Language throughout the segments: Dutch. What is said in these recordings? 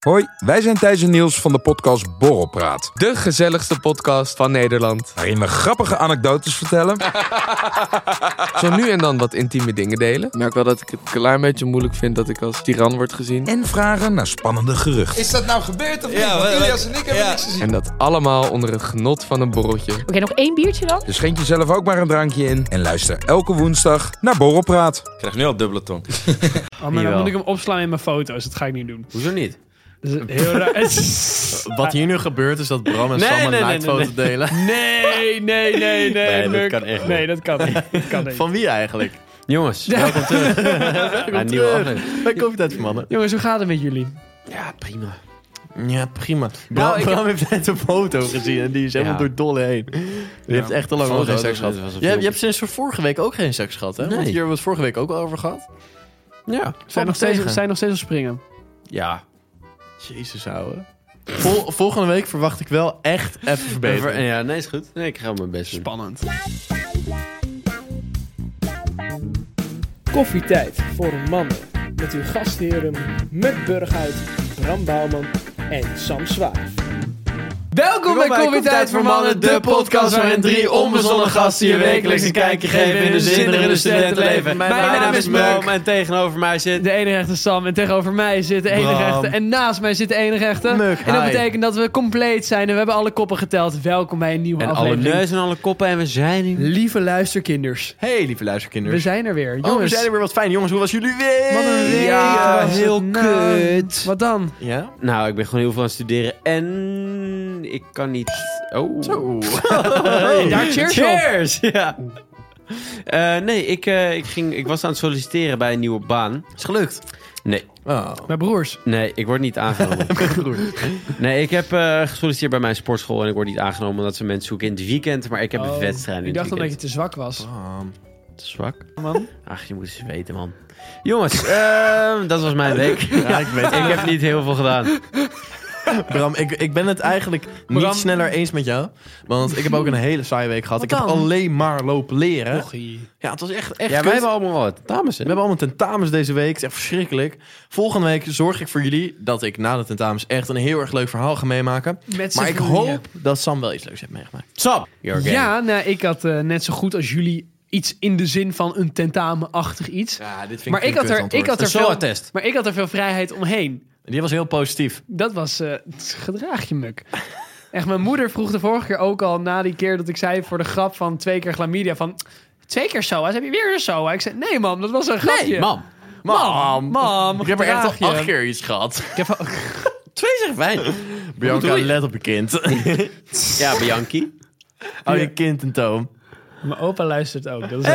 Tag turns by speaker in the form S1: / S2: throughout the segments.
S1: Hoi, wij zijn Thijs en Niels van de podcast Borrelpraat.
S2: De gezelligste podcast van Nederland.
S1: Waarin we grappige anekdotes vertellen.
S2: Zo nu en dan wat intieme dingen delen. Ik merk wel dat ik het een klein beetje moeilijk vind dat ik als tiran word gezien.
S1: en vragen naar spannende geruchten.
S3: Is dat nou gebeurd of niet?
S4: Ja,
S3: Want
S4: wat-
S3: Ilias en ik hebben
S4: ja.
S3: niks gezien.
S2: En dat allemaal onder het genot van een borreltje.
S5: Oké, nog één biertje dan?
S1: Dus schenk jezelf ook maar een drankje in. En luister elke woensdag naar Borrelpraat.
S4: Ik krijg nu al dubbele tong.
S6: Oh, maar dan moet ik hem opslaan in mijn foto's. Dat ga ik niet doen.
S7: Hoezo niet?
S6: Dat is heel raar.
S7: Wat hier nu gebeurt is dat Bram en
S6: Nee,
S7: Sam
S6: nee,
S7: een
S6: nee,
S7: naaktfoto
S6: nee,
S7: delen.
S6: Nee, nee, nee, nee.
S7: Nee, dat
S6: Muk.
S7: kan echt niet.
S6: Nee, dat kan niet. Dat kan niet.
S7: Van wie eigenlijk? Jongens, welkom terug. welkom een nieuwe
S6: terug.
S7: aflevering. Bij Koffietijd voor Mannen.
S6: Jongens, hoe gaat het met jullie?
S7: Ja, prima. Ja, prima. Bram, Bram heeft net een foto gezien en die is helemaal
S2: Ja.
S7: door dolle heen. Die heeft echt te lang al
S4: Foto,
S7: geen
S4: dat was-
S7: seks gehad.
S4: dat was een
S7: Je, hebt-
S4: filmpje.
S7: je hebt sinds vorige week ook geen seks gehad, hè? Want hier hebben we het vorige week ook al over gehad. Ja,
S6: Zijn nog, steeds, zijn nog steeds op springen.
S7: Ja. Jezus, ouwe. Vol- volgende week verwacht ik wel echt even verbetering.
S4: Ja, nee, is goed. Nee, ik ga mijn best doen.
S6: Spannend.
S8: Koffietijd voor mannen. Met uw gastheren Muk Burghuis, Bram Bouwman en Sam Zwaar.
S7: Welkom bij Koffietijd voor Mannen, de podcast waarin drie onbezonnen gasten je wekelijks een kijkje geven in de zinderende studentenleven. Mijn, naam is Muk.
S4: en tegenover mij zit...
S6: De enige echte Sam en tegenover mij zit de enige
S7: Bram.
S6: echte. En naast mij zit de enige echte.
S7: Muk,
S6: en dat
S7: hi.
S6: betekent dat we compleet zijn en we hebben alle koppen geteld. Welkom bij een nieuwe
S4: En alle
S6: aflevering.
S4: neus en alle koppen en we zijn hier.
S6: Lieve luisterkinders,
S7: Hey, lieve luisterkinderen.
S6: we zijn er weer. Jongens,
S7: Oh, we zijn er weer. Wat fijn, jongens. Hoe was jullie weer?
S6: wat een week
S4: Ja,
S6: was het
S4: heel
S6: nou.
S4: kut.
S6: Wat dan?
S7: Ja?
S4: Nou, ik ben gewoon heel veel aan het studeren en ik kan niet... Oh.
S7: Zo.
S6: Daar Oh, cheers op.
S4: Cheers! Ja. Eh, nee, ik, eh, ik, ging, ik was aan het solliciteren bij een nieuwe baan.
S7: Is gelukt.
S4: Nee,
S7: Oh.
S6: Mijn broers.
S4: nee, ik word niet aangenomen. Nee, ik heb eh, gesolliciteerd bij mijn sportschool en ik word niet aangenomen omdat ze mensen zoeken in het weekend, maar ik heb een
S6: Oh,
S4: wedstrijd in
S6: Ik
S4: het
S6: dacht al dat je
S4: weekend.
S6: te zwak was.
S4: Te zwak.
S6: Man.
S4: Ach, je moet eens weten, man. Jongens, ehm, dat was mijn week.
S7: Ja, ik weet
S4: Ik heb niet heel veel gedaan.
S7: Bram, ik, ik ben het eigenlijk niet
S6: Bram.
S7: sneller eens met jou. Want ik heb ook een hele saaie week gehad.
S6: Wat
S7: ik heb
S6: dan?
S7: alleen maar lopen leren.
S6: Gochie.
S7: Ja, het was echt, echt
S4: Ja, wij
S7: kut.
S4: hebben allemaal wat. Dames, hè?
S7: We hebben allemaal tentamens deze week. Het is echt verschrikkelijk. Volgende week zorg ik voor jullie dat ik na de tentamens echt een heel erg leuk verhaal ga meemaken.
S6: Met z'n
S7: Maar ik
S6: drieën.
S7: hoop dat Sam wel iets leuks heeft meegemaakt.
S4: Sap! You're gay.
S6: Ja, nou, ik had eh, net zo goed als jullie iets in de zin van een tentamenachtig iets.
S7: Ja, dit vind
S6: maar ik had, er, ik, had
S4: Een
S6: er veel,
S4: SOA-test.
S6: maar ik had er veel vrijheid omheen.
S7: Die was heel positief.
S6: Dat was eh, het gedraag je muk. Echt, mijn moeder vroeg de vorige keer ook al, na die keer dat ik zei voor de grap van twee keer chlamydia, van twee keer SOA's, heb je weer een SOA? Ik zei, nee mam, dat was een grapje.
S4: Nee, mam.
S6: Mam, mam,
S7: Ik heb er echt
S6: gedraag
S7: al
S6: je.
S7: acht keer iets gehad.
S6: Ik heb al-
S4: Twee zegt wij.
S7: Bianca,
S4: doe je?
S7: let op je kind.
S4: Ja, Bianchi.
S7: Hou je kind in toom.
S6: Mijn opa luistert ook. Dat is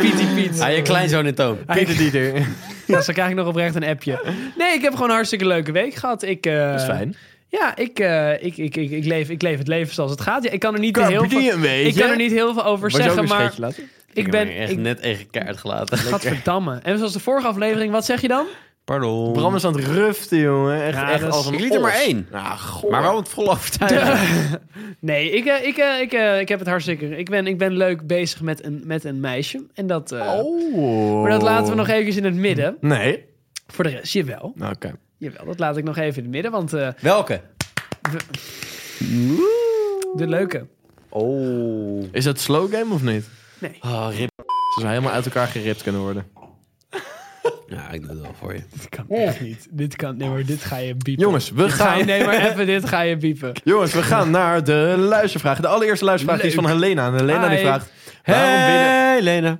S4: Pietie Piet. Ah, je kleinzoon in toom.
S7: Pieter Dieter.
S6: Ja, zo krijg ik nog oprecht een appje. Nee, ik heb gewoon een hartstikke leuke week gehad. Ik, eh,
S7: Dat is fijn.
S6: Ja, ik, eh, ik, ik, ik, ik, leef, ik leef het leven zoals het gaat. Ja, ik kan er niet heel veel...
S7: weet
S6: Ik kan er niet heel veel over zeggen, maar ik ben...
S4: echt
S6: Ik,
S4: net even kaart gelaten.
S6: gadverdamme. En zoals de vorige aflevering, wat zeg je dan?
S4: Pardon.
S7: Bram is aan het ruften, jongen. Echt,
S6: Ja,
S7: echt
S6: dat is-
S7: als een
S4: Ik liet er maar
S7: os.
S4: één.
S7: Ah, goh.
S4: Maar wel het vol overtuiging.
S6: Nee, ik, eh, ik, eh, ik, eh, ik heb het hartstikke... Ik ben, ik ben leuk bezig met een, met een meisje. En dat... eh,
S7: Oh.
S6: Maar dat laten we nog eventjes in het midden.
S7: Nee.
S6: Voor de rest, jawel.
S7: Oké.
S6: Jawel, dat laat ik nog even in het midden. Want eh,
S4: Welke?
S6: de leuke...
S4: Oh.
S7: Is dat slow game of niet?
S4: Ah, rip.
S7: Ze zou helemaal uit elkaar geript kunnen worden.
S4: Ja, ik doe het wel voor je.
S6: Dit kan echt niet. Dit kan... Nee, maar dit ga je biepen.
S7: Jongens, we
S6: Ga je,
S7: gaan,
S6: nee, maar even dit ga je piepen.
S7: jongens, we gaan naar de luistervraag. De allereerste luistervraag die is van Helena. En Helena die
S6: Hi.
S7: vraagt... Waarom willen,
S4: Lena.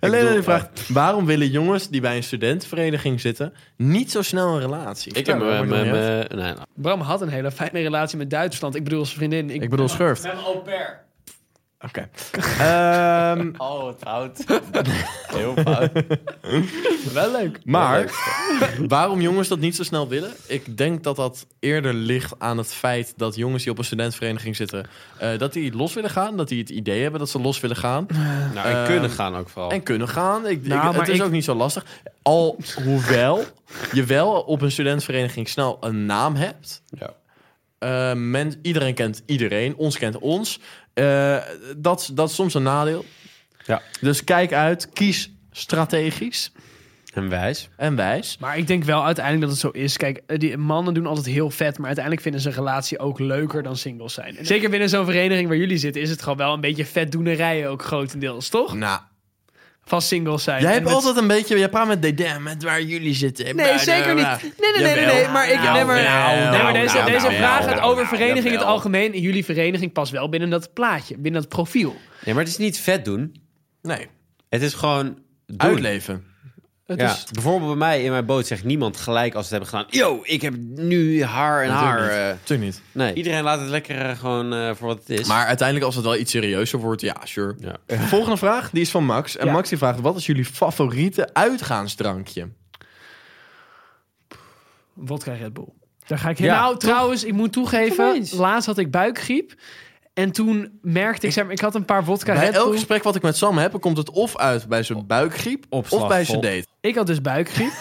S7: Helena die vraagt... Waarom willen jongens die bij een studentenvereniging zitten... niet zo snel een relatie?
S4: Ik heb
S7: Vertel,
S4: me...
S7: Robert, nog niet uit.
S4: nee, nou.
S6: Bram had een hele fijne relatie met Duitsland. Ik bedoel, zijn vriendin. Ik,
S7: Ik bedoel schurft.
S6: ben au pair.
S7: Oké. Ehm,
S4: Oh, het fout. Heel fout.
S6: Wel leuk.
S7: maar waarom jongens dat niet zo snel willen? Ik denk dat dat eerder ligt aan het feit dat jongens die op een studentenvereniging zitten... eh, dat die los willen gaan. Dat die het idee hebben dat ze los willen gaan.
S4: Nou, en
S7: Ehm,
S4: kunnen gaan ook vooral.
S7: En kunnen gaan. Ik,
S6: Nou,
S7: ik- het
S6: maar
S7: is
S6: ik-
S7: ook niet zo lastig. Alhoewel je wel op een studentenvereniging snel een naam hebt.
S4: Ja.
S7: Eh, men, iedereen kent iedereen. Ons kent ons. Eh, dat, is- dat is soms een nadeel.
S4: Ja.
S7: Dus kijk uit. Kies strategisch.
S4: En wijs.
S7: En wijs.
S6: Maar ik denk wel uiteindelijk dat het zo is. Kijk, eh, die mannen doen altijd heel vet, maar uiteindelijk vinden ze een relatie ook leuker dan singles zijn. En Zeker binnen zo'n vereniging waar jullie zitten, is het gewoon wel een beetje vetdoenerijen ook grotendeels, toch?
S7: Nou,
S6: Van singles zijn.
S7: jij
S6: En
S7: hebt
S6: met-
S7: altijd een beetje... Jij praat met DDM, met waar jullie zitten.
S6: Nee, zeker niet. Nee, nee, nee, nee, nee. Maar ik
S7: Jawel.
S6: nee, maar-
S7: Jawel.
S6: Nee, maar deze,
S7: Nou,
S6: deze
S7: nou,
S6: vraag
S7: jawel.
S6: gaat over vereniging in het
S7: Jawel.
S6: algemeen. En jullie vereniging past wel binnen dat plaatje, binnen dat profiel.
S4: Nee, maar het is niet vet doen.
S7: Nee,
S4: Het is gewoon doen.
S7: uitleven.
S6: Het
S4: Ja.
S6: is-
S4: Bijvoorbeeld bij mij in mijn boot zegt niemand gelijk als ze het hebben gedaan. Yo, ik heb nu haar en haar. eh.
S7: Natuurlijk niet.
S4: nee, iedereen laat het lekker eh, gewoon eh, voor wat het is.
S7: Maar uiteindelijk als het wel iets serieuzer wordt, ja, sure.
S4: Ja.
S7: Volgende vraag, die is van Max. En
S6: Ja.
S7: Max die vraagt, wat is jullie favoriete uitgaansdrankje?
S6: Wodka Red Bull. Daar ga ik
S4: Ja,
S6: helemaal. nou, trouwens, ik moet toegeven.
S4: Ineens.
S6: Laatst had ik buikgriep. En toen merkte ik, zeg maar, ik had een paar wodka
S7: Bij
S6: Red Bull.
S7: elk gesprek wat ik met Sam heb, komt het of uit bij zijn buikgriep
S4: Opslag
S7: of bij zijn
S4: vol.
S7: date.
S6: Ik had dus buikgriep.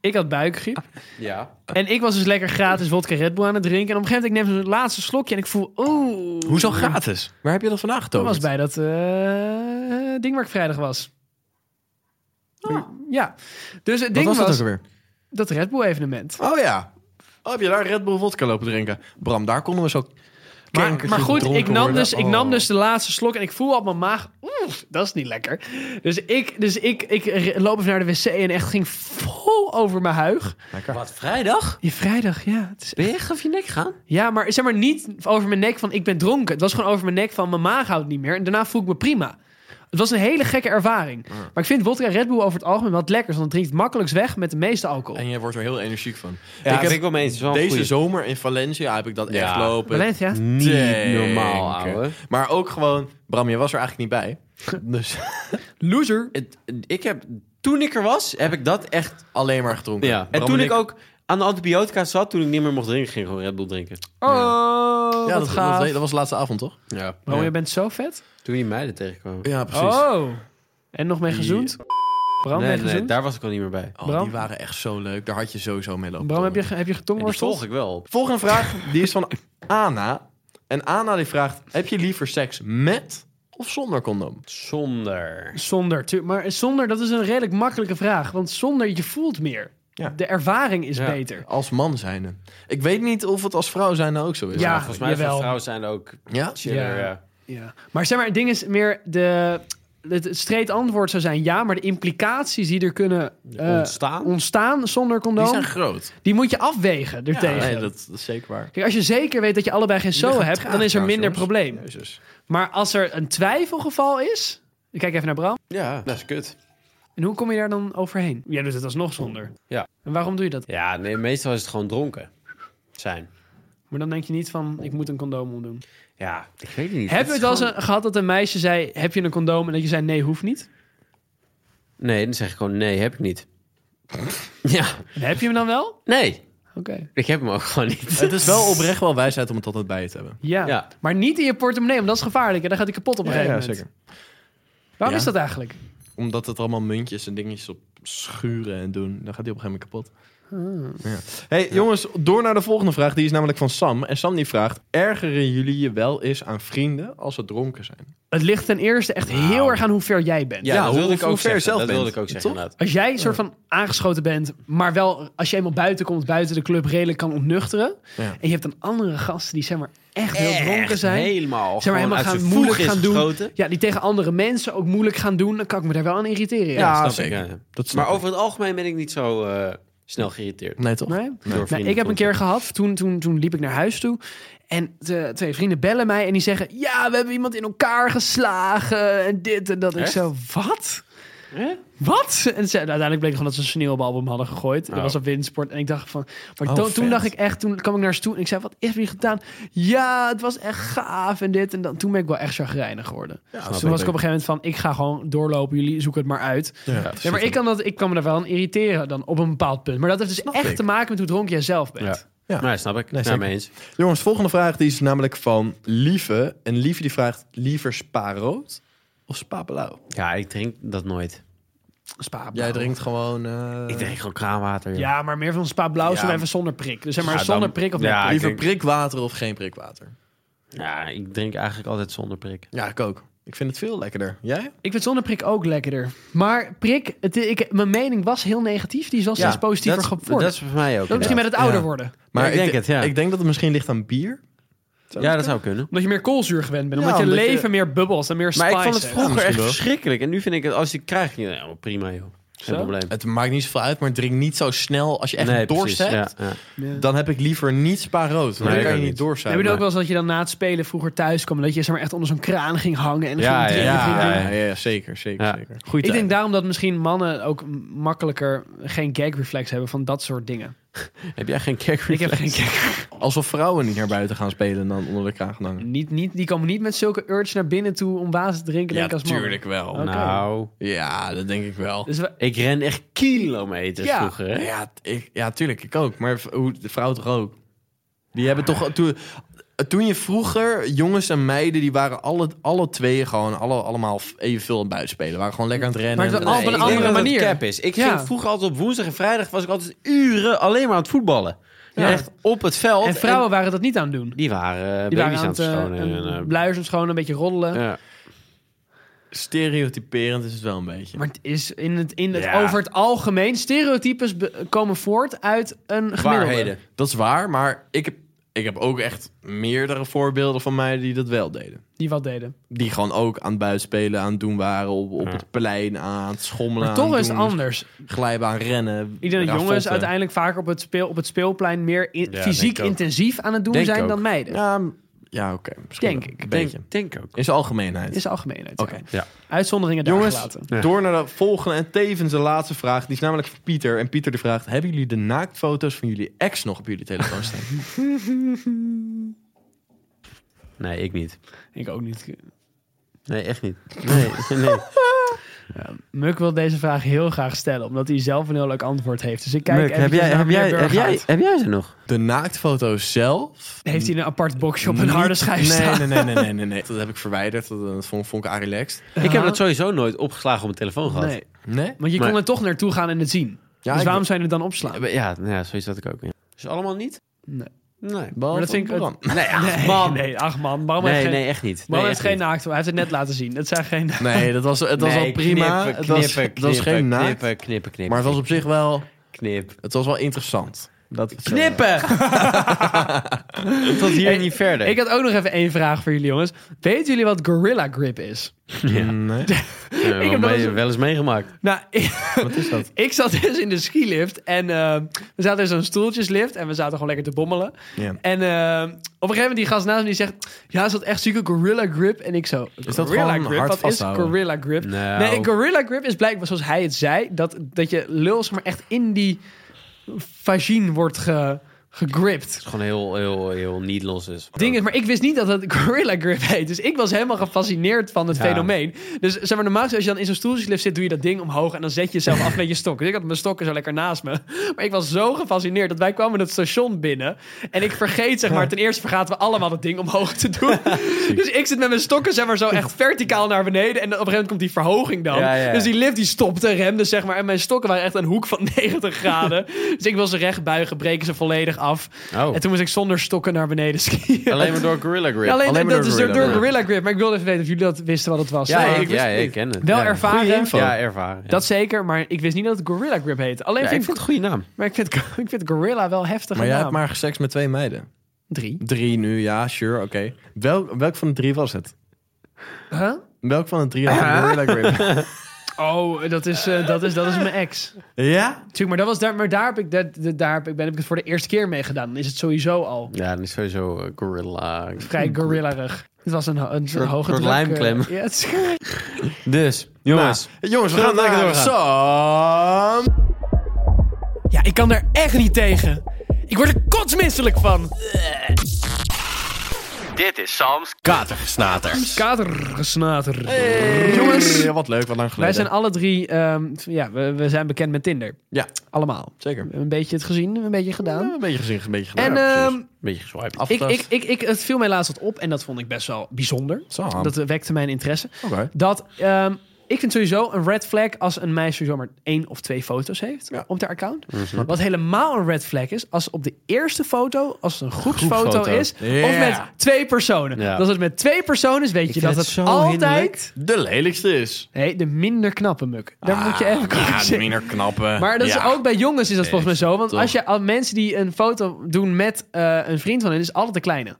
S6: ik had buikgriep.
S4: ja.
S6: En ik was dus lekker gratis wodka Red Bull aan het drinken. En op een gegeven moment ik neem zo'n laatste slokje en ik voel, oeh.
S7: Hoezo gratis? Waar heb je dat vandaag
S6: Dat
S7: getoond?
S6: was bij dat eh, ding waar ik vrijdag was. Ja. Dus het
S7: Wat
S6: ding
S7: was
S6: was,
S7: dat ook
S6: dat,
S7: alweer?
S6: Red Bull evenement.
S7: Oh ja. Oh, heb je daar Red Bull vodka lopen drinken? Bram, daar konden we zo
S6: Maar,
S7: kankertje
S6: maar goed, ik
S7: gedronken
S6: nam,
S7: worden.
S6: dus, ik
S7: Oh.
S6: nam dus de laatste slok en ik voel op mijn maag... Oeh, dat is niet lekker. Dus ik, dus ik, ik r- loop even naar de wc en echt ging vol over mijn huig.
S4: Wat, vrijdag?
S6: Je vrijdag, ja. Het is
S4: Ben je echt over je nek gaan?
S6: Ja, maar zeg maar niet over mijn nek van ik ben dronken. Het was gewoon over mijn nek van mijn maag houdt niet meer. En daarna voel ik me prima. Het was een hele gekke ervaring. Maar ik vind wodka Red Bull over het algemeen wat lekkers. Want het drinkt het makkelijkst weg met de meeste alcohol.
S7: En jij wordt er heel energiek van.
S4: Ja,
S7: ik heb
S4: wel mee eens. Het is wel een
S7: deze
S4: goeie.
S7: zomer in Valencia heb ik dat
S4: Ja.
S7: echt lopen.
S6: Valencia?
S4: Niet
S7: Denken.
S4: normaal, ouwe.
S7: Maar ook gewoon... Bram, je was er eigenlijk niet bij. Dus
S6: Loser.
S4: Het- ik heb, toen ik er was, heb ik dat echt...
S7: alleen maar gedronken.
S4: Ja. En
S7: Bram
S4: toen ik
S7: ik-
S4: ook aan de antibiotica zat, toen ik niet meer mocht drinken, ging ik gewoon Red Bull drinken.
S6: Oh,
S7: Ja,
S6: wat
S7: dat,
S6: gaaf.
S7: dat, dat was de laatste avond, toch?
S4: Ja.
S6: Bro, je bent zo vet.
S4: Toen die meiden tegenkwamen.
S7: Ja,
S6: Oh. En nog mee gezoend? Bram,
S4: nee,
S6: mee
S4: nee,
S6: gezoend?
S4: daar was ik al niet meer bij.
S7: Oh,
S6: Bram?
S7: die waren echt zo leuk. Daar had je sowieso mee lopen.
S6: Bram, heb je,
S7: tongen.
S6: heb je
S4: En die volg
S6: getongworsteld?
S4: ik wel op.
S7: Volgende vraag, die is van Anna. En Anna die vraagt, heb je liever seks met of zonder condoom?
S4: Zonder.
S6: Zonder. tu- Maar zonder, dat is een redelijk makkelijke vraag. Want zonder, je voelt meer.
S7: Ja.
S6: De ervaring is
S4: Ja.
S6: beter.
S7: Als man zijnde. Ik weet niet of het als vrouw zijnde ook zo is.
S6: Ja.
S4: Maar volgens mij
S6: jawel.
S4: zijn vrouwen zijn ook
S7: Ja?
S4: chiller.
S6: Ja.
S4: Ja.
S6: Ja. Maar zeg maar, het ding is meer de. Het streed antwoord zou zijn ja, maar de implicaties die er kunnen eh,
S4: Ontstaan.
S6: ontstaan zonder
S7: Die
S6: condoom,
S7: zijn
S6: die,
S7: groot.
S6: moet je afwegen ertegen.
S7: nee, dat, dat is zeker waar.
S6: Kijk, als je zeker weet dat je allebei geen
S7: Jullie
S6: zo
S7: gaan
S6: hebt,
S7: traag
S6: dan is er
S7: trouwens,
S6: minder
S7: jongens.
S6: probleem.
S7: Jezus.
S6: Maar als er een twijfelgeval is, ik kijk even naar Bram,
S4: ja, dat is kut.
S6: en hoe kom je daar dan overheen? Jij doet dus het alsnog zonder.
S4: Ja.
S6: En waarom doe je dat?
S4: Ja, nee, meestal is het gewoon dronken zijn.
S6: Maar dan denk je niet van, ik moet een condoom omdoen.
S4: Ja, ik weet het niet.
S6: Hebben we het wel eens een- gehad dat een meisje zei, heb je een condoom? En dat je zei, nee, hoeft niet.
S4: Nee, dan zeg ik gewoon nee, heb ik niet. ja,
S6: En heb je hem dan wel?
S4: nee,
S6: Oké.
S4: ik heb hem ook gewoon niet.
S7: Het is wel oprecht wel wijsheid om het altijd bij je te hebben.
S6: Ja.
S4: Ja.
S6: maar niet in je portemonnee, want dat is gevaarlijk. En dan gaat hij kapot op een gegeven moment. Waarom
S7: Ja.
S6: is dat eigenlijk?
S7: Omdat het allemaal muntjes en dingetjes op schuren en doen. Dan gaat die op een gegeven moment kapot.
S6: Ah.
S7: Ja. Hey jongens, door naar de volgende vraag. Die is namelijk van Sam. En Sam die vraagt: ergeren jullie je wel eens aan vrienden als ze dronken zijn?
S6: Het ligt ten eerste echt heel erg aan hoe ver jij bent.
S7: Ja, hoe- hoe ver
S4: zeggen.
S7: je zelf
S4: Dat
S7: bent.
S4: wilde ik ook zeggen,
S7: Toch?
S4: inderdaad.
S6: Als jij een soort van aangeschoten bent, maar wel als je eenmaal buiten komt, buiten de club redelijk kan ontnuchteren.
S7: Ja.
S6: En je hebt dan andere gasten die zeg maar echt heel dronken zijn.
S4: helemaal.
S6: Zeg maar
S4: gewoon
S6: helemaal
S4: uit
S6: gaan
S4: zijn
S6: moeilijk
S4: voegen
S6: gaan
S4: is
S6: doen.
S4: gegoten.
S6: Ja, die tegen andere mensen ook moeilijk gaan doen. Dan kan ik me daar wel aan irriteren. Ja.
S7: Ja,
S4: Snap ik,
S7: zeker.
S4: ja.
S7: Dat snap
S4: Maar
S7: ik.
S4: over het algemeen ben ik niet zo eh, snel geïrriteerd.
S7: Nee, toch?
S6: Nee?
S4: door vrienden
S6: Nou, ik heb een
S4: dronken.
S6: keer gehad, toen, toen, toen liep ik naar huis toe. En de, twee vrienden bellen mij en die zeggen... Ja, we hebben iemand in elkaar geslagen en dit en dat. Ik
S4: Echt?
S6: zo, wat?
S4: Hè?
S6: Wat? En ze, uiteindelijk bleek gewoon dat ze een sneeuwbal op hem hadden gegooid. Dat
S4: Oh.
S6: was op windsport. En ik dacht van... Maar
S7: Oh,
S6: to-
S7: vet.
S6: toen dacht ik echt... Toen kwam ik naar ze toe en ik zei... Wat is er gedaan? Ja, het was echt gaaf en dit en dat. Toen ben ik wel echt chagrijnig geworden.
S7: Ja,
S6: Dus toen was ik op een gegeven moment van... Ik ga gewoon doorlopen. Jullie zoeken het maar uit.
S7: Ja.
S6: Nee, maar ik kan, dat, ik kan me daar wel aan irriteren dan op een bepaald punt. Maar dat heeft dus echt
S7: ik.
S6: te maken met hoe dronken jij zelf bent.
S7: Ja.
S4: Nee, snap ik.
S7: Nee,
S4: Nee,
S7: zeker.
S4: mee eens.
S7: Jongens, volgende vraag die is namelijk van Lieve. En Lieve die vraagt: liever spa rood of spa blauw?
S4: Ja, ik drink dat nooit.
S6: Spa
S7: Jij drinkt gewoon. eh,
S4: Ik drink gewoon kraanwater. joh.
S6: Ja, maar meer van spa blauw,
S7: Ja.
S6: zo even zonder prik. Dus zeg maar
S4: Ja,
S6: zonder
S4: dan-
S6: prik of
S4: Ja,
S6: met prik.
S4: ik
S7: liever
S4: denk-
S7: prikwater of geen prikwater?
S4: ja, ik drink eigenlijk altijd zonder prik.
S7: Ja, ik ook. Ik vind het veel lekkerder. Jij?
S6: Ik vind zonneprik ook lekkerder. Maar prik, het, ik, mijn mening was heel negatief. Die is wel steeds positiever
S4: dat,
S6: geworden.
S4: dat is voor mij ook.
S6: Dat misschien met het ouder worden.
S4: Ja, ik denk
S7: de-
S4: het, ja.
S7: Ik denk dat het misschien ligt aan bier.
S4: inderdaad. Ja, dat zou kunnen.
S6: Omdat je meer koolzuur gewend bent.
S7: Ja,
S6: Omdat je
S7: omdat je-
S6: leven meer bubbels en meer spice
S4: Maar ik vond het
S6: heeft.
S4: vroeger
S7: misschien
S4: echt
S7: wel.
S4: verschrikkelijk. En nu vind ik het, als ik het krijg, ja, nou, prima joh. Geen
S6: Zo?
S4: probleem.
S7: Het maakt niet zoveel uit, maar drink niet zo snel. Als je echt dorst
S4: precies,
S7: hebt,
S4: ja, ja.
S6: Ja.
S7: dan heb ik liever niet spa-rood. want
S4: Nee,
S7: dan
S4: ik
S7: kan je
S4: ook
S7: niet
S4: niet.
S6: Heb je
S7: doorzijn.
S6: ook wel eens dat je dan na het spelen vroeger thuis kwam... en dat je zeg maar, echt onder zo'n kraan ging hangen en
S4: Ja,
S6: ging
S7: Ja,
S6: drinken? ging
S7: ja,
S6: drinken?
S7: ja, ja, zeker. zeker,
S4: Ja.
S7: zeker. Goeie
S6: Ik
S7: tijd.
S6: denk daarom dat misschien mannen ook m- makkelijker geen gag reflex hebben van dat soort dingen.
S4: Heb jij geen kerk
S6: Ik heb geen gag.
S7: Alsof vrouwen niet naar buiten gaan spelen en dan onder de kraag gaan hangen.
S6: Niet, niet, die komen niet met zulke urge naar binnen toe om water te drinken. denk ik, als man.
S7: wel.
S6: Oké.
S4: Nou,
S7: Ja, dat denk ik wel.
S6: Dus we-
S4: ik ren echt kilometers
S6: Ja.
S4: vroeger. Hè?
S7: Ja, t- ik, ja, tuurlijk, ik ook. Maar v- hoe, de vrouw toch ook? Die hebben toch... Toen, toen je vroeger, jongens en meiden, die waren alle, alle twee gewoon alle, allemaal f- evenveel aan het buitenspelen. Waren gewoon lekker aan het rennen.
S6: Maar het
S7: en-
S6: was
S7: Nee,
S6: op een
S7: ik denk
S6: andere
S7: dat het-
S6: manier.
S4: cap is. Ik
S6: Ja.
S4: ging vroeger altijd op woensdag en vrijdag was ik altijd uren alleen maar aan het voetballen.
S6: Ja.
S4: Echt op het veld.
S6: en vrouwen waren dat niet aan het doen.
S4: En die waren eh,
S6: Die
S4: baby's
S6: waren
S4: aan het schonen.
S6: eh, een-
S4: en, eh,
S6: bluizen schoon, een beetje roddelen.
S4: ja.
S7: Stereotyperend is het wel een beetje.
S6: Maar het is in het, in het,
S4: Ja.
S6: over het algemeen... stereotypes be- komen voort uit een gemiddelde.
S4: Waarheden.
S7: Dat is waar, maar ik heb, ik heb ook echt meerdere voorbeelden van mij die dat wel deden.
S6: Die wat deden.
S7: Die gewoon ook aan het buitenspelen, aan het doen waren, op, op
S4: Ja.
S7: het plein, aan het schommelen,
S6: Maar
S7: aan
S6: toch
S7: het
S6: is het
S7: doen,
S6: anders.
S7: glijbaan, rennen,
S6: Ik denk dat
S7: rafotten.
S6: jongens uiteindelijk vaker op het, speel, op het speelplein... meer in-
S4: eh. Ja,
S6: fysiek
S4: denk ik ook.
S6: intensief aan het doen
S4: Denk
S6: zijn
S4: ook.
S6: dan meiden.
S7: Ja, m- ja oké. misschien
S6: Denk
S7: wel.
S6: ik.
S7: Een beetje.
S4: Denk, denk ook.
S7: In zijn algemeenheid.
S6: Is de algemeenheid.
S7: Oké.
S6: ja.
S4: Ja.
S6: Uitzonderingen daar
S7: Jongens,
S6: gelaten.
S4: Ja.
S7: door naar de volgende en tevens de laatste vraag. Die is namelijk van Pieter. En Pieter die vraagt, hebben jullie de naaktfoto's van jullie ex nog op jullie telefoon staan?
S4: Nee, ik niet.
S6: Ik ook niet.
S4: Nee, echt niet. Nee, nee.
S6: Muk wil deze vraag heel graag stellen, omdat hij zelf een heel leuk antwoord heeft. Dus ik kijk
S4: Muk,
S6: eventjes
S4: heb jij,
S6: naar
S4: heb, jij,
S6: meneer
S4: heb, jij,
S6: Burghuis.
S4: heb jij ze nog?
S7: de naaktfoto's zelf?
S6: Heeft hij een apart boxje op een
S7: Niet-
S6: harde schijf staan?
S7: Nee, nee, nee, nee, nee, nee, nee. Dat heb ik verwijderd. Dat, dat vond, vond ik relaxed.
S4: Ik heb dat sowieso nooit opgeslagen op mijn telefoon gehad.
S6: Nee,
S7: Nee?
S6: want je
S4: Maar-
S6: kon er toch naartoe gaan en het zien.
S7: Ja,
S6: dus
S7: ik-
S6: waarom zou je het dan opslaan?
S4: Ja, Ja, nou ja, zoiets had ik ook. Ja. Dus allemaal niet?
S6: Nee.
S4: Nee.
S7: Behalve
S6: Maar dat vind ik-
S7: Bram.
S4: Nee, ach,
S6: Nee,
S4: man.
S6: nee, ach man. Bram heeft
S4: Nee,
S6: geen,
S4: nee, echt niet.
S6: Bram
S4: Nee,
S6: heeft
S4: echt
S6: geen
S4: niet.
S6: naakt. Hij heeft het net laten zien. Het zijn geen...
S7: Nee, dat was, het was
S4: Nee,
S7: al prima.
S4: Knippen,
S7: het was,
S4: knippen,
S7: het was geen
S4: knippen,
S7: naakt.
S4: Knippen, knippen, knippen.
S7: Maar het was op zich wel,
S4: knip.
S7: het was wel interessant. Dat ik zo-
S4: Knippen! Tot hier
S6: Hey,
S4: niet verder.
S6: Ik had ook nog even één vraag voor jullie, jongens. Weten jullie wat Gorilla Grip is?
S4: Ja.
S7: Nee.
S4: Ja, wel,
S6: heb dat
S4: mee-
S6: eens-
S4: wel eens meegemaakt.
S6: Nou,
S7: Wat is dat?
S6: Ik zat dus in de skilift en eh, we zaten in zo'n stoeltjeslift en we zaten gewoon lekker te bommelen.
S7: Ja.
S6: En eh, op een gegeven moment die gast naast me die zegt, ja, is dat echt zieke gorilla grip? En ik zo,
S7: Is dat
S6: gorilla
S7: gewoon
S6: grip?
S7: hard
S6: Wat is
S7: vasthouden?
S6: gorilla grip?
S4: Nou.
S6: Nee, gorilla grip is blijkbaar zoals hij het zei, dat, dat je lul zeg maar echt in die vagine wordt ge, gegript.
S4: Het is gewoon heel, heel, heel niet los is.
S6: Ding is, maar ik wist niet dat het Gorilla Grip heet. Dus ik was helemaal gefascineerd van het
S4: Ja.
S6: fenomeen. Dus zeg maar, normaal als je dan in zo'n stoeltjeslift zit, doe je dat ding omhoog en dan zet je jezelf af met je stok. Dus ik had mijn stokken zo lekker naast me. Maar ik was zo gefascineerd dat wij kwamen het station binnen. En ik vergeet, zeg maar, ten eerste vergaten we allemaal dat ding omhoog te doen. dus ik zit met mijn stokken, zeg maar, zo echt verticaal naar beneden. En op een gegeven moment komt die verhoging dan.
S4: Ja, ja.
S6: Dus die lift die stopte, remde, zeg maar. En mijn stokken waren echt een hoek van 90 graden. dus ik wil ze recht buigen, breken ze volledig af.
S4: Oh.
S6: En toen moest ik zonder stokken naar beneden skiën.
S4: Alleen maar door Gorilla Grip.
S6: Ja, alleen,
S7: Alleen maar
S6: dat
S7: door
S6: is door,
S7: Gorilla
S6: door
S7: Grip.
S6: Gorilla Grip. Maar ik wilde even weten of jullie dat wisten wat het was.
S4: Ja,
S6: Maar
S4: ik, ja,
S7: het
S4: ik
S7: niet.
S4: ken het. ja.
S6: wel
S7: Goeie
S6: ervaren.
S7: info.
S4: Ja, ervaren. ja.
S6: Dat zeker, maar ik wist niet dat het Gorilla Grip heet. Alleen
S4: Ja, ik
S6: vind
S4: vind
S6: ik,
S4: het een goede naam.
S6: maar ik vind, ik vind Gorilla wel heftig.
S7: Maar jij hebt maar seks met twee meiden.
S6: Drie.
S7: Drie nu, ja, sure, oké. Welk, welk van de drie was het?
S6: Huh?
S7: Welk van de drie had een Gorilla Grip?
S6: Oh, dat is, eh, dat, is, dat is mijn ex.
S7: Ja?
S6: Tuurlijk, maar, dat was daar, maar daar, heb ik, dat, dat- daar heb, ik, ben, heb ik het voor de eerste keer mee gedaan. Dan is het sowieso al
S4: Ja, dan is sowieso eh, Gorilla.
S6: vrij gorillarig. Het was een, ho- een
S4: Soort-
S6: hoge
S4: soort
S6: druk, eh,
S4: lijmklem.
S6: ja, het is-
S4: Dus, jongens.
S7: Nou, jongens, we
S4: Zullen
S7: gaan
S4: we lekker
S7: naar Sam.
S6: ja, ik kan daar echt niet tegen. Ik word er kotsmisselijk van.
S3: Dit is Sam's
S7: Katergesnaters.
S6: Katergesnater.
S7: Jongens. wat leuk, wat lang geleden.
S6: Wij zijn alle drie, ehm, ja, we, we zijn bekend met Tinder.
S7: Ja,
S6: Allemaal.
S7: zeker.
S6: Een beetje het gezien, een beetje gedaan.
S7: Ja, een beetje gezien, een beetje
S6: en
S7: gedaan.
S6: ehm,
S4: Beetje geswiped.
S6: ik, ik, ik, ik, het viel mij laatst wat op en dat vond ik best wel bijzonder.
S7: Sam.
S6: Dat wekte mijn interesse.
S7: Oké.
S6: Dat ehm, Ik vind sowieso een red flag als een meisje sowieso maar één of twee foto's heeft op haar account. Wat helemaal een red flag is, als op de eerste foto, als het een groepsfoto
S4: Groepsfoto.
S6: is, of met twee personen.
S4: Ja.
S6: Dat Als het met twee personen is, weet je dat
S4: vind het
S6: het,
S4: zo
S6: altijd
S4: hinderlijk.
S7: De lelijkste is.
S6: nee, de minder knappe muk. Daar moet je even
S7: Ja,
S6: over
S7: de
S6: zeggen.
S7: minder knappe.
S6: Maar dat
S7: eh, Ja.
S6: is ook bij jongens is dat
S7: Nee,
S6: volgens mij zo. Want
S7: toch.
S6: als je al mensen die een foto doen met eh, een vriend van hen, is altijd de kleine.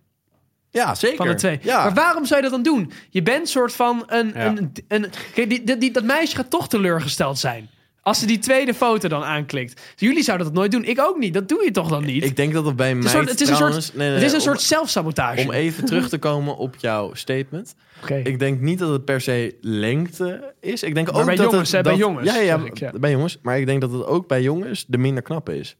S7: Ja, zeker.
S6: Van de twee.
S7: Ja.
S6: Maar waarom zou je dat dan doen? Je bent soort van een.
S4: Ja.
S6: een, een kijk, die, die, die- dat meisje gaat toch teleurgesteld zijn. Als ze die tweede foto dan aanklikt. Dus jullie zouden dat nooit doen. Ik ook niet. Dat doe je toch dan niet?
S7: Ik denk dat dat bij
S6: het is
S7: mij
S6: een soort, het is een
S7: trouwens...
S6: soort,
S7: nee, nee,
S6: het is een
S7: om-
S6: soort zelfsabotage.
S7: Om even terug te komen op jouw statement.
S6: Oké.
S7: Ik denk niet dat het per se lengte is. Ik denk ook
S6: Maar bij
S7: dat
S6: jongens, hè,
S7: het,
S6: bij
S7: dat,
S6: jongens,
S7: Ja, ja,
S6: zeg ik, ja.
S7: bij jongens. Maar ik denk dat het ook bij jongens de minder knappe is.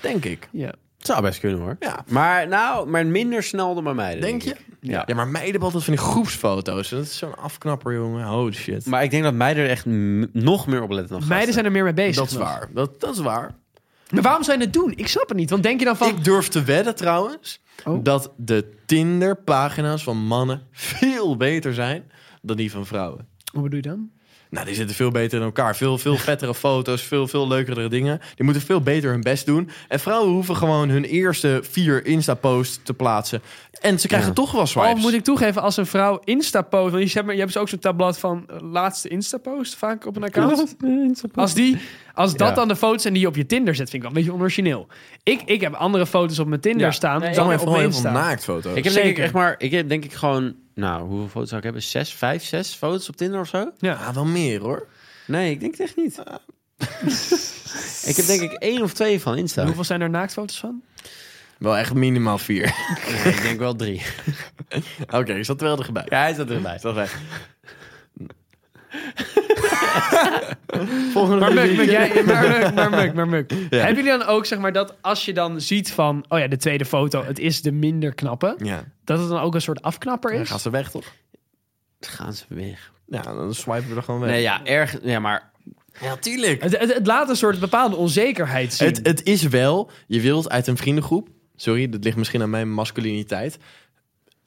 S7: Denk ik.
S6: Ja.
S4: Het zou best kunnen hoor.
S7: Ja.
S4: Maar nou, maar minder snel dan bij mij.
S7: Denk je?
S4: ik.
S7: Ja,
S4: Ja.
S7: maar meiden altijd van die groepsfoto's. Dat is zo'n afknapper, jongen. Holy shit.
S4: Maar ik denk dat meiden er echt m- nog meer op letten dan gasten.
S6: Meiden zijn er meer mee bezig.
S7: dat is
S6: nog.
S7: waar. Dat, dat is waar.
S6: Maar waarom zou je het doen? Ik snap het niet. Want denk je dan van.
S7: Ik durf te wedden trouwens
S6: Oh.
S7: dat de Tinder-pagina's van mannen veel beter zijn dan die van vrouwen.
S6: Hoe bedoel je dan?
S7: Nou, die zitten veel beter in elkaar. Veel, veel vettere foto's, veel, veel leukere dingen. Die moeten veel beter hun best doen. En vrouwen hoeven gewoon hun eerste vier Insta-posts te plaatsen. En ze krijgen
S4: Ja.
S7: toch wel swipes.
S6: Al Oh, moet ik toegeven, als een vrouw Insta-post. Want je hebt, je hebt dus ook zo'n tabblad van eh, laatste Insta-post vaak op een account. Als, die, als dat
S4: Ja.
S6: dan de foto's zijn die je op je Tinder zet, vind ik wel een beetje onorigineel. Ik, ik heb andere foto's op mijn Tinder
S4: Ja.
S6: staan
S4: Nee,
S7: Dan
S6: dan
S7: maar
S6: op
S7: vooral
S6: mijn
S7: heel veel
S6: Insta.
S7: naaktfoto's.
S4: Ik heb denk ik
S6: Zeker.
S4: echt maar, ik heb denk ik gewoon, nou, hoeveel foto's zou ik hebben? Zes, vijf, zes foto's op Tinder of zo?
S6: Ja.
S7: Ja, Ah, wel meer hoor.
S4: Nee, ik denk het echt niet. ik heb denk ik één of twee van Insta.
S6: En Hoeveel zijn er naaktfoto's van?
S7: Wel echt minimaal vier.
S4: Nee, ik denk wel drie.
S7: Oké, ik zat er wel erbij.
S4: Ja, hij zat erbij.
S7: Dat wij. Volgende
S6: Maar muk,
S7: rubriek.
S6: muk, jij, maar muk, maar muk, maar muk. Hebben jullie dan ook, zeg maar, dat als je dan ziet van, oh ja, de tweede foto, het is de minder knappe,
S7: Ja,
S6: dat het dan ook een soort afknapper
S7: dan
S6: is?
S7: gaan ze weg toch?
S4: Gaan ze weg.
S7: Ja, dan swipen we er gewoon weg.
S4: Nee, ja, erg. Ja, maar
S7: ja, tuurlijk.
S6: Het, het, het laat een soort bepaalde onzekerheid zien.
S7: Het, het is wel, je wilt uit een vriendengroep, sorry, dat ligt misschien aan mijn masculiniteit,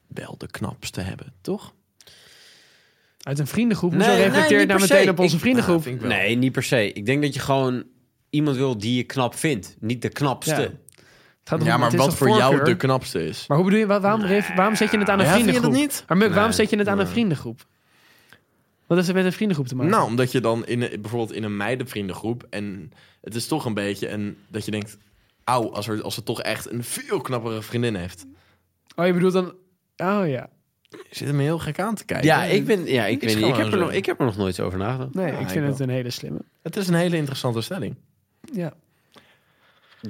S7: wel de knapste hebben, toch?
S6: Uit een vriendengroep,
S4: Nee,
S6: hoezo
S4: nee,
S6: reflecteert
S4: niet
S6: nou
S4: per
S6: meteen
S4: se.
S6: op onze
S4: Ik-
S6: vriendengroep?
S7: vind ik wel.
S4: nee, niet per se. Ik denk dat je gewoon iemand wil die je knap vindt, niet de knapste.
S6: Ja. Het gaat om-
S7: Ja, maar
S6: het is
S7: wat
S6: een
S7: voor jou
S6: voorkeur.
S7: de knapste is.
S6: Maar hoe bedoel je, wa- waarom, ref- waarom zet je het aan een
S7: Ja, vind je dat
S6: vriendengroep?
S7: niet?
S6: Maar Muk, waarom
S4: Nee,
S6: zet je het aan een vriendengroep? Wat heeft het met een vriendengroep te maken?
S7: Nou, omdat je dan in, een- bijvoorbeeld in een meidenvriendengroep, en het is toch een beetje en dat je denkt, auw, als, er, als ze toch echt een veel knappere vriendin heeft.
S6: Oh, je bedoelt dan... Oh ja.
S7: Je zit hem heel gek aan te kijken.
S4: Ja, ik ben, ja, ik
S7: Is
S4: weet niet. Ik
S7: gewoon
S4: heb, er
S7: zo.
S4: nog, ik heb er nog nooit zo over nagedacht.
S6: Nee,
S7: Ja,
S6: ik
S7: ik
S6: vind
S7: wel.
S6: het een hele slimme.
S7: Het is een hele interessante stelling.
S6: Ja.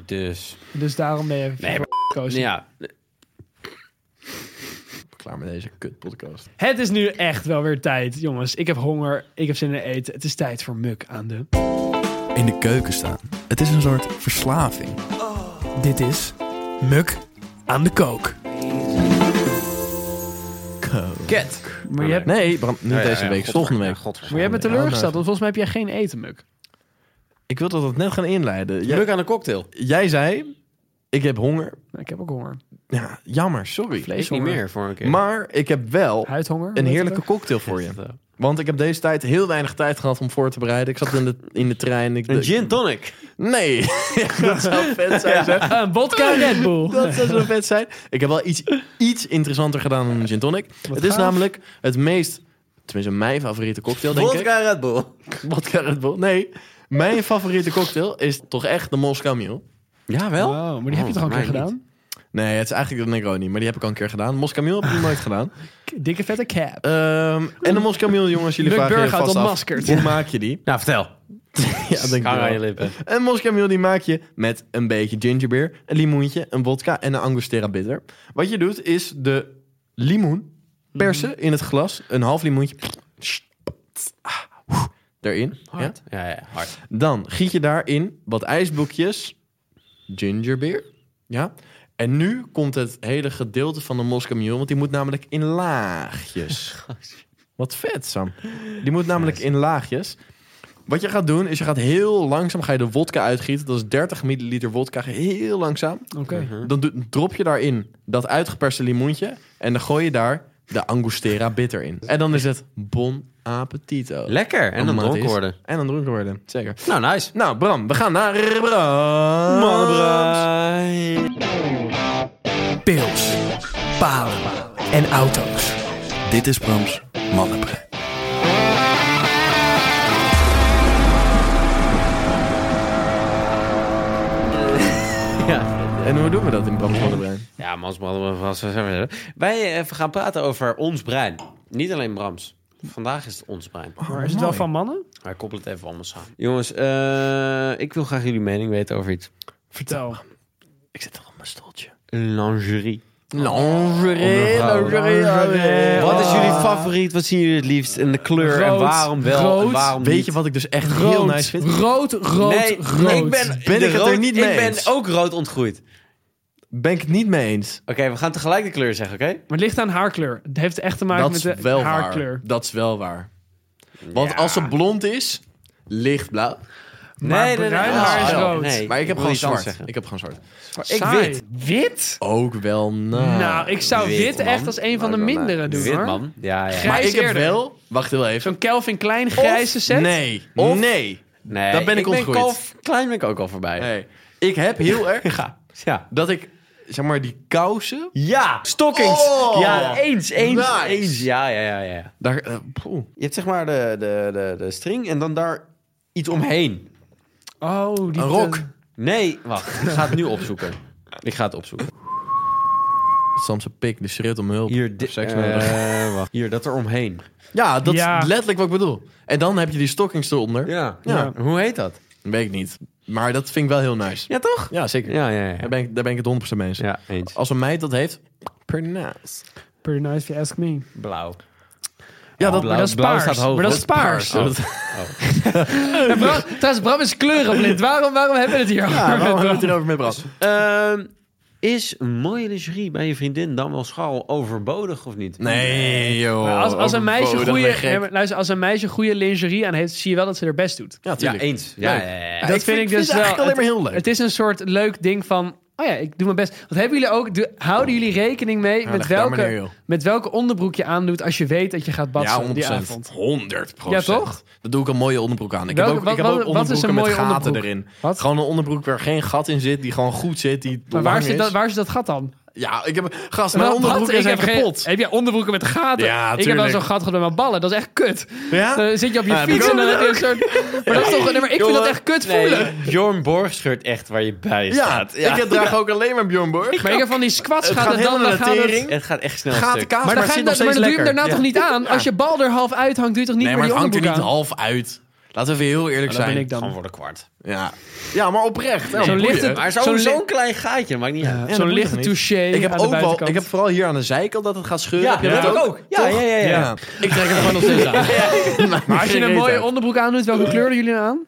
S4: Dus,
S6: Dus daarom ben je even
S4: Nee, maar-
S6: gekozen.
S4: ja,
S7: Klaar met deze kutpodcast.
S6: Het is nu echt wel weer tijd, jongens. Ik heb honger, ik heb zin in eten. Het is tijd voor Muk aan de...
S3: in de keuken staan. Het is een soort verslaving. Dit is Muk aan de kook.
S4: ket.
S6: Maar je hebt,
S7: Nee, Bram, niet
S4: Ja, ja,
S7: deze
S4: ja,
S7: week,
S4: godver-
S7: volgende
S4: ja,
S7: week.
S4: godver-
S6: maar je hebt me teleurgesteld,
S7: nou,
S6: want volgens mij heb jij geen eten, Muk.
S7: Ik wil dat we het net gaan inleiden. Jij,
S4: Druk aan een cocktail.
S7: jij zei, ik heb honger.
S6: Nou, ik heb ook honger.
S7: Ja, jammer, sorry.
S4: Ik niet
S6: Vleeshonger.
S4: meer voor een keer.
S7: Maar ik heb wel
S6: Huidhonger.
S7: een
S6: weet
S7: heerlijke
S6: het
S7: cocktail voor je. Want ik heb deze tijd heel weinig tijd gehad om voor te bereiden. Ik zat in de, in de trein. Ik
S4: een gin tonic.
S7: Nee, dat zou vet zijn. zeg.
S6: ook. Een vodka Red Bull.
S7: Dat zou zo vet zijn. Ik heb wel iets, iets interessanter gedaan dan een gin tonic. het is
S6: gaaf.
S7: namelijk het meest, tenminste mijn favoriete cocktail, denk ik.
S4: Vodka Red Bull.
S7: Vodka Red Bull. Nee, mijn favoriete cocktail is toch echt de Moscow Mule.
S4: Ja, wel?
S6: Wow, maar die heb je
S4: Oh,
S6: toch al een keer
S4: mij niet.
S6: gedaan?
S7: Nee, het is eigenlijk de Negroni, maar die heb ik al een keer gedaan. Moscow Mule heb ik nog nooit gedaan.
S6: Dikke vette cap.
S7: Ehm, en de Moscow Mule, jongens, jullie
S6: Luc
S7: vragen je
S6: Burghout
S7: vast af.
S6: ontmaskerd.
S7: Hoe maak je die?
S4: Nou, vertel.
S7: ja, denk ik
S4: Hang aan je
S7: wel.
S4: lippen.
S7: Een Moscow Mule die maak je met een beetje gingerbeer, een limoentje, een vodka en een Angostura bitter. Wat je doet is de limoen persen in het glas, een half limoentje ah, erin. Ja?
S4: Hard. Ja, ja, hard.
S7: Dan giet je daarin wat ijsblokjes gingerbeer. Ja. En nu komt het hele gedeelte van de Moscow Mule, want die moet namelijk in laagjes.
S4: Oh,
S7: Wat vet, Sam. Die moet namelijk in laagjes. Wat je gaat doen, is je gaat heel langzaam ga je de wodka uitgieten. Dat is 30 milliliter wodka, heel langzaam.
S6: Oké.
S4: Mhm.
S7: Dan do- drop je daarin dat uitgeperste limoentje en dan gooi je daar de Angostura bitter in. En dan is het bon appetito.
S4: Lekker. En dan
S7: Automatisch.
S4: dronken worden.
S7: En dan dronken worden, zeker.
S4: Nou, nice.
S7: Nou, Bram, we gaan naar Bram.
S3: Pils, palen en auto's. Dit is Brams Mannenbrein.
S4: Ja.
S7: En hoe doen we dat in Bram's Mannenbrein?
S4: Ja, man, man, man, man. Wij eh, gaan praten over ons brein. Niet alleen Brams. Vandaag is het ons brein.
S6: Maar is het wel van mannen?
S4: Maar ik koppel het even allemaal samen. Jongens, eh, ik wil graag jullie mening weten over iets.
S6: Vertel.
S7: Ik zit toch op mijn stoeltje.
S4: Lingerie.
S7: Lingerie,
S4: Wat is jullie
S7: Ah.
S4: favoriet? Wat zien jullie het liefst? En de kleur? en
S6: Rood,
S4: waarom wel? en
S6: rood.
S4: waarom
S7: Weet
S4: niet?
S7: je wat ik dus echt heel
S6: Rood,
S7: nice vind?
S6: rood, rood,
S4: nee,
S6: rood.
S4: ik ben,
S7: Ben
S4: de
S7: ik het er
S4: rood-
S7: niet mee
S4: Ik ben
S7: eens?
S4: ook rood ontgroeid. Oké,
S7: Ben ik het niet mee eens.
S4: we gaan tegelijk de kleur zeggen, oké?
S6: Maar het ligt aan haarkleur. Het heeft echt te maken
S7: Dat
S6: met
S7: is
S6: de
S7: wel
S6: haarkleur.
S7: waar. Dat is wel waar. Want als ze blond is, lichtblauw. Ah,
S6: Maar bruin haar is
S4: oh,
S6: rood.
S4: nee,
S7: Maar ik
S4: wil
S7: heb gewoon
S4: iets anders
S7: zwart. Ik heb gewoon zwart.
S4: Ik
S6: Saai.
S4: wit.
S6: Wit?
S7: Ook wel na.
S6: nou, ik zou
S4: wit,
S6: wit,
S4: man.
S6: echt als een van de
S7: Maar ik ben
S6: mindere doen,
S4: Wit,
S6: hoor.
S4: man. Ja, ja.
S6: Grijs
S7: maar ik heb
S6: eerder.
S7: wel. Wacht heel even.
S6: Zo'n Kelvin Klein grijze set?
S7: Nee.
S4: Of-
S7: nee.
S4: Nee,
S7: Daar ben ik ontgroeid.
S4: al- klein ben ik ook al voorbij.
S7: Nee. Ik heb heel erg
S4: Ja.
S7: dat ik zeg maar die kousen.
S4: Ja, stockings.
S7: Oh,
S4: ja, eens, eens,
S7: nice.
S4: eens. Ja, ja, ja, ja.
S7: Daar, eh, poeh.
S4: Je hebt zeg maar de, de, de, de string en dan daar iets omheen.
S6: Oh, die
S7: Een rok.
S4: Nee, wacht. Ik ga het nu opzoeken. Ik ga het opzoeken.
S7: Samse pik, die schreeuwt om hulp.
S4: Hier,
S7: Of
S4: dit,
S7: seks
S4: eh,
S7: nodig.
S4: wacht. Hier, dat er omheen.
S7: Ja, dat
S6: Ja.
S7: is letterlijk wat ik bedoel. En dan heb je die stockings eronder.
S4: Ja.
S7: Ja.
S4: Hoe heet dat?
S7: Weet ik niet. Maar dat vind ik wel heel nice.
S4: Ja, toch?
S7: Ja, zeker.
S4: Ja, ja, ja. Oh,
S7: Daar, ben ik, daar ben ik het 100% mee eens.
S4: Ja, eens.
S7: Als een meid dat heeft, pretty nice.
S6: Pretty nice if you ask me.
S4: Blauw.
S7: Ja, dat,
S4: blauw.
S6: maar dat is
S4: blauw
S6: paars.
S4: staat hoog.
S6: Maar dat is paars.
S4: Oh.
S6: En Bram, trouwens, Bram is kleurenblind. Waarom, waarom hebben we het hier over?
S7: waarom hebben we het hierover met Bram?
S4: Ehm, is een mooie lingerie bij je vriendin dan wel schaal overbodig of niet?
S7: Nee,
S6: Maar
S7: joh.
S6: als, als, een meisje
S7: Overbodig
S6: goede,
S7: Oh, ben gek.
S6: nee, maar luister, als een meisje goede lingerie aan heeft, zie je wel dat ze haar best doet.
S7: Ja,
S4: Ja,
S7: tuurlijk.
S4: eens. Ja,
S7: Leuk.
S4: ja, ja, ja.
S6: dat vind ik dus
S7: het eigenlijk
S6: wel-
S7: alleen maar heel leuk.
S6: Het is een soort leuk ding van, oh ja, ik doe mijn best. Want hebben jullie ook, do- houden jullie rekening mee met,
S7: leg daar maar neer,
S6: welke,
S7: joh.
S6: met welke onderbroek je aandoet als je weet dat je gaat badsen die avond?
S7: 100
S6: Ja, toch?
S7: Dat doe ik een mooie onderbroek aan. Ik
S6: Welke-
S7: heb ook,
S6: wat-
S7: ik heb
S6: wat-
S7: ook
S6: wat is een
S7: onderbroeken met
S6: mooie
S7: gaten
S6: onderbroek?
S7: erin.
S6: Wat?
S7: Gewoon een onderbroek waar geen gat in zit, die gewoon goed zit, die
S6: Maar
S7: lang
S6: waar zit,
S7: is.
S6: dat, waar zit dat gat dan?
S7: Ja, ik heb... Gast, mijn
S6: Wat?
S7: onderbroeken
S6: Ik
S7: zijn
S6: heb geen-
S7: kapot.
S6: Heb jij onderbroeken met gaten?
S7: Ja,
S6: ik heb wel
S7: tuurlijk.
S6: zo'n gat gehad met mijn ballen. Dat is echt kut.
S7: Ja?
S6: Dan zit je op je
S7: Ja, heb ik
S6: fiets
S7: ook.
S6: en dan heb je een soort... Maar, dat is toch, nee, maar ik vind dat echt kut
S4: Nee,
S6: voelen.
S4: Jorn Borg scheurt echt waar je bij
S7: Ja,
S4: staat.
S7: ik draag ook alleen maar Björn Borg.
S6: Maar ik heb van die squats
S7: Het
S6: gaat
S7: gaat
S6: het dan,
S7: helemaal
S6: dan
S7: naar
S6: gaat
S7: de
S6: het...
S7: tering.
S4: Het gaat echt snel
S7: Gaat de
S4: stuk.
S6: Maar
S7: kaas, maar,
S6: dan,
S7: het
S6: ga je,
S7: zit nog
S6: dat- maar
S7: steeds
S6: dan doe je hem
S7: lekker.
S6: daarna toch niet aan? Als je bal er half uit hangt, doe je toch niet
S7: Nee, maar
S6: meer
S7: het
S6: die
S7: hangt er
S6: onderbroek
S7: niet
S6: aan?
S7: half uit. Laten we even heel eerlijk
S6: Dat ben
S7: zijn.
S6: ik dan.
S4: Gewoon voor de kwart.
S7: Ja. ja, maar oprecht. Ja,
S6: Zo
S7: boeien.
S6: ligt het.
S4: Maar zo'n
S6: Zo'n li-
S4: zo'n klein gaatje, maakt niet uit.
S7: Ja,
S6: Zo'n
S7: dat
S6: lichte
S7: boeit me niet.
S6: touché
S7: Ik heb
S6: aan de
S7: ook wel,
S6: buitenkant.
S7: ik heb vooral hier aan de zijkant dat het gaat scheuren.
S4: Ja,
S7: Heb je
S4: dat heb ik ook. Ja, ja, ja, ja.
S7: Ja. Ik trek hem gewoon nog steeds aan.
S6: Maar als je een mooie onderbroek aandoet, welke kleur doen jullie aan?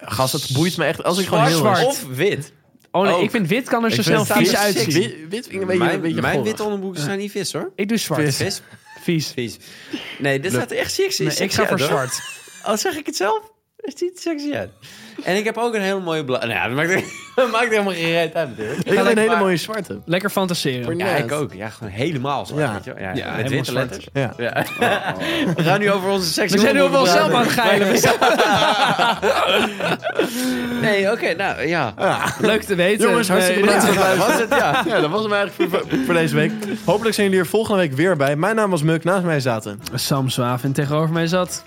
S7: Gast, het boeit me echt. Als ik gewoon heel
S6: Zwart.
S4: Of wit.
S6: Oh nee,
S4: Ook.
S6: ik vind wit kan er zo snel
S4: vind het
S6: vies
S4: vies.
S6: uitzien.
S7: Wit, wit vind ik een beetje
S4: Mijn,
S7: een beetje
S4: mijn
S7: goldig.
S4: witte onderbroeken zijn niet vis, hoor.
S6: Ik doe zwart.
S4: Vis?
S6: Vies.
S4: Vies. Nee, dit staat er echt sexy.
S6: Nee,
S4: sexy
S6: ik ga
S4: uit,
S6: voor
S4: hoor.
S6: zwart.
S4: Al zeg ik het zelf, het ziet er sexy uit. En ik heb ook een hele mooie blauw... Nou ja, dat maakt, dat maakt helemaal geen reet uit natuurlijk.
S7: Ik heb een hele
S4: Maar-
S7: mooie zwarte.
S6: Lekker fantaseren.
S4: Ja, ik ook. Ja, gewoon helemaal zwart,
S7: Ja.
S4: weet je wel. Ja,
S6: Ja,
S4: met
S6: helemaal
S4: witte
S6: zwart.
S4: letters.
S7: Ja.
S4: Ja. We gaan nu over onze seks.
S6: We zijn nu wel zelf aan het geilen. We zijn-
S4: Nee, oké, nou ja.
S6: Leuk te weten.
S7: Jongens, hartstikke
S6: Nee,
S7: bedankt voor
S6: dat-
S7: het luisteren.
S4: ja.
S7: Ja, dat was hem eigenlijk voor, voor- voor deze week. Hopelijk zijn jullie er volgende week weer bij. Mijn naam was Muk, naast mij zaten...
S6: Sam Zwaaf en tegenover mij zat.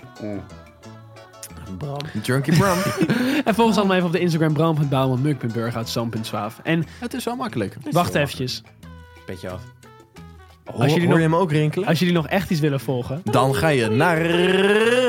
S7: Junkie Bram.
S6: En volgens allemaal even op de Instagram bram.bouwman, muk.burg uit sam.zwaaf. En
S7: het is wel makkelijk.
S6: wacht eventjes.
S4: Beetje af.
S7: Hoor,
S6: jullie
S7: hoor
S6: nog-
S7: je hem ook rinkelen?
S6: Als jullie nog echt iets willen volgen.
S7: Dan ga je naar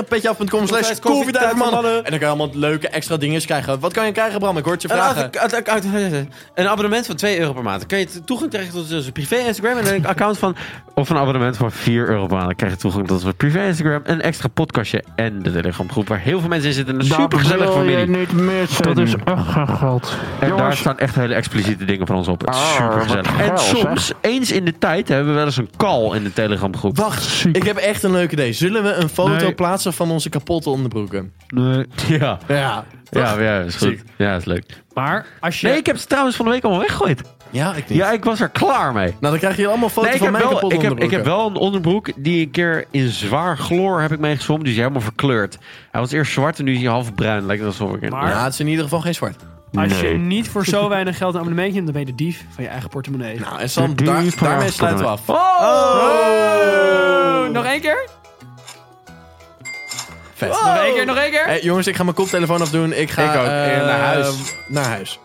S7: petjeaf.com slash koffietijdmannen. En dan kan je allemaal leuke extra dingetjes krijgen. Wat kan je krijgen, Bram? Ik hoor het je
S4: Een,
S7: vragen.
S4: uit- uit- uit- uit- een abonnement van 2 euro per maand. Dan kan je t- toegang krijgen tot onze privé Instagram en een account van. Of een abonnement van 4 euro per maand. Dan krijg je toegang tot onze privé Instagram, een extra podcastje en de Telegram groep waar heel veel mensen in zitten. Een super gezellige familie.
S5: niet missen. Dat is echt geen geld.
S4: En daar
S5: Jongens.
S4: staan echt hele expliciete dingen van ons op. Het is
S5: Ah,
S4: super gezellig.
S5: wat
S4: En
S5: geil,
S4: soms, eens in de tijd, hebben we wel eens een call in de Telegram groep.
S7: Wacht, ik heb echt een leuke idee. Zullen we een foto
S5: Nee.
S7: plaatsen van onze kapotte onderbroeken?
S5: Nee.
S4: Ja,
S7: Ja.
S4: ja, ja, is goed. Ja, is leuk.
S6: Maar als je...
S4: Nee, ik heb ze trouwens van de week allemaal weggegooid.
S7: Ja, ik niet.
S4: Ja, ik was er klaar mee.
S7: Nou, dan krijg je allemaal foto's
S4: Nee, ik,
S7: van
S4: heb
S7: mijn
S4: wel,
S7: kapot
S4: ik, heb, ik heb wel een onderbroek die een keer in zwaar chloor heb ik meegezwommen. Dus helemaal verkleurd. Hij was eerst zwart en nu is hij half bruin. Lijkt het alsof ik... in-
S6: Maar-
S7: Ja, het is in ieder geval geen zwart.
S6: Als je
S4: Nee.
S6: niet voor zo weinig geld een abonnementje neemt, dan ben je de dief van je eigen portemonnee.
S7: Nou, en Sam, daar- daarmee sluiten we af.
S4: Oh!
S6: Oh! Nog één keer?
S7: Vet.
S6: Nog één keer, nog één keer?
S7: Hey, jongens, ik ga mijn koptelefoon afdoen. Ik ga
S4: Ik ook. En
S7: eh,
S4: naar huis.
S7: Naar huis.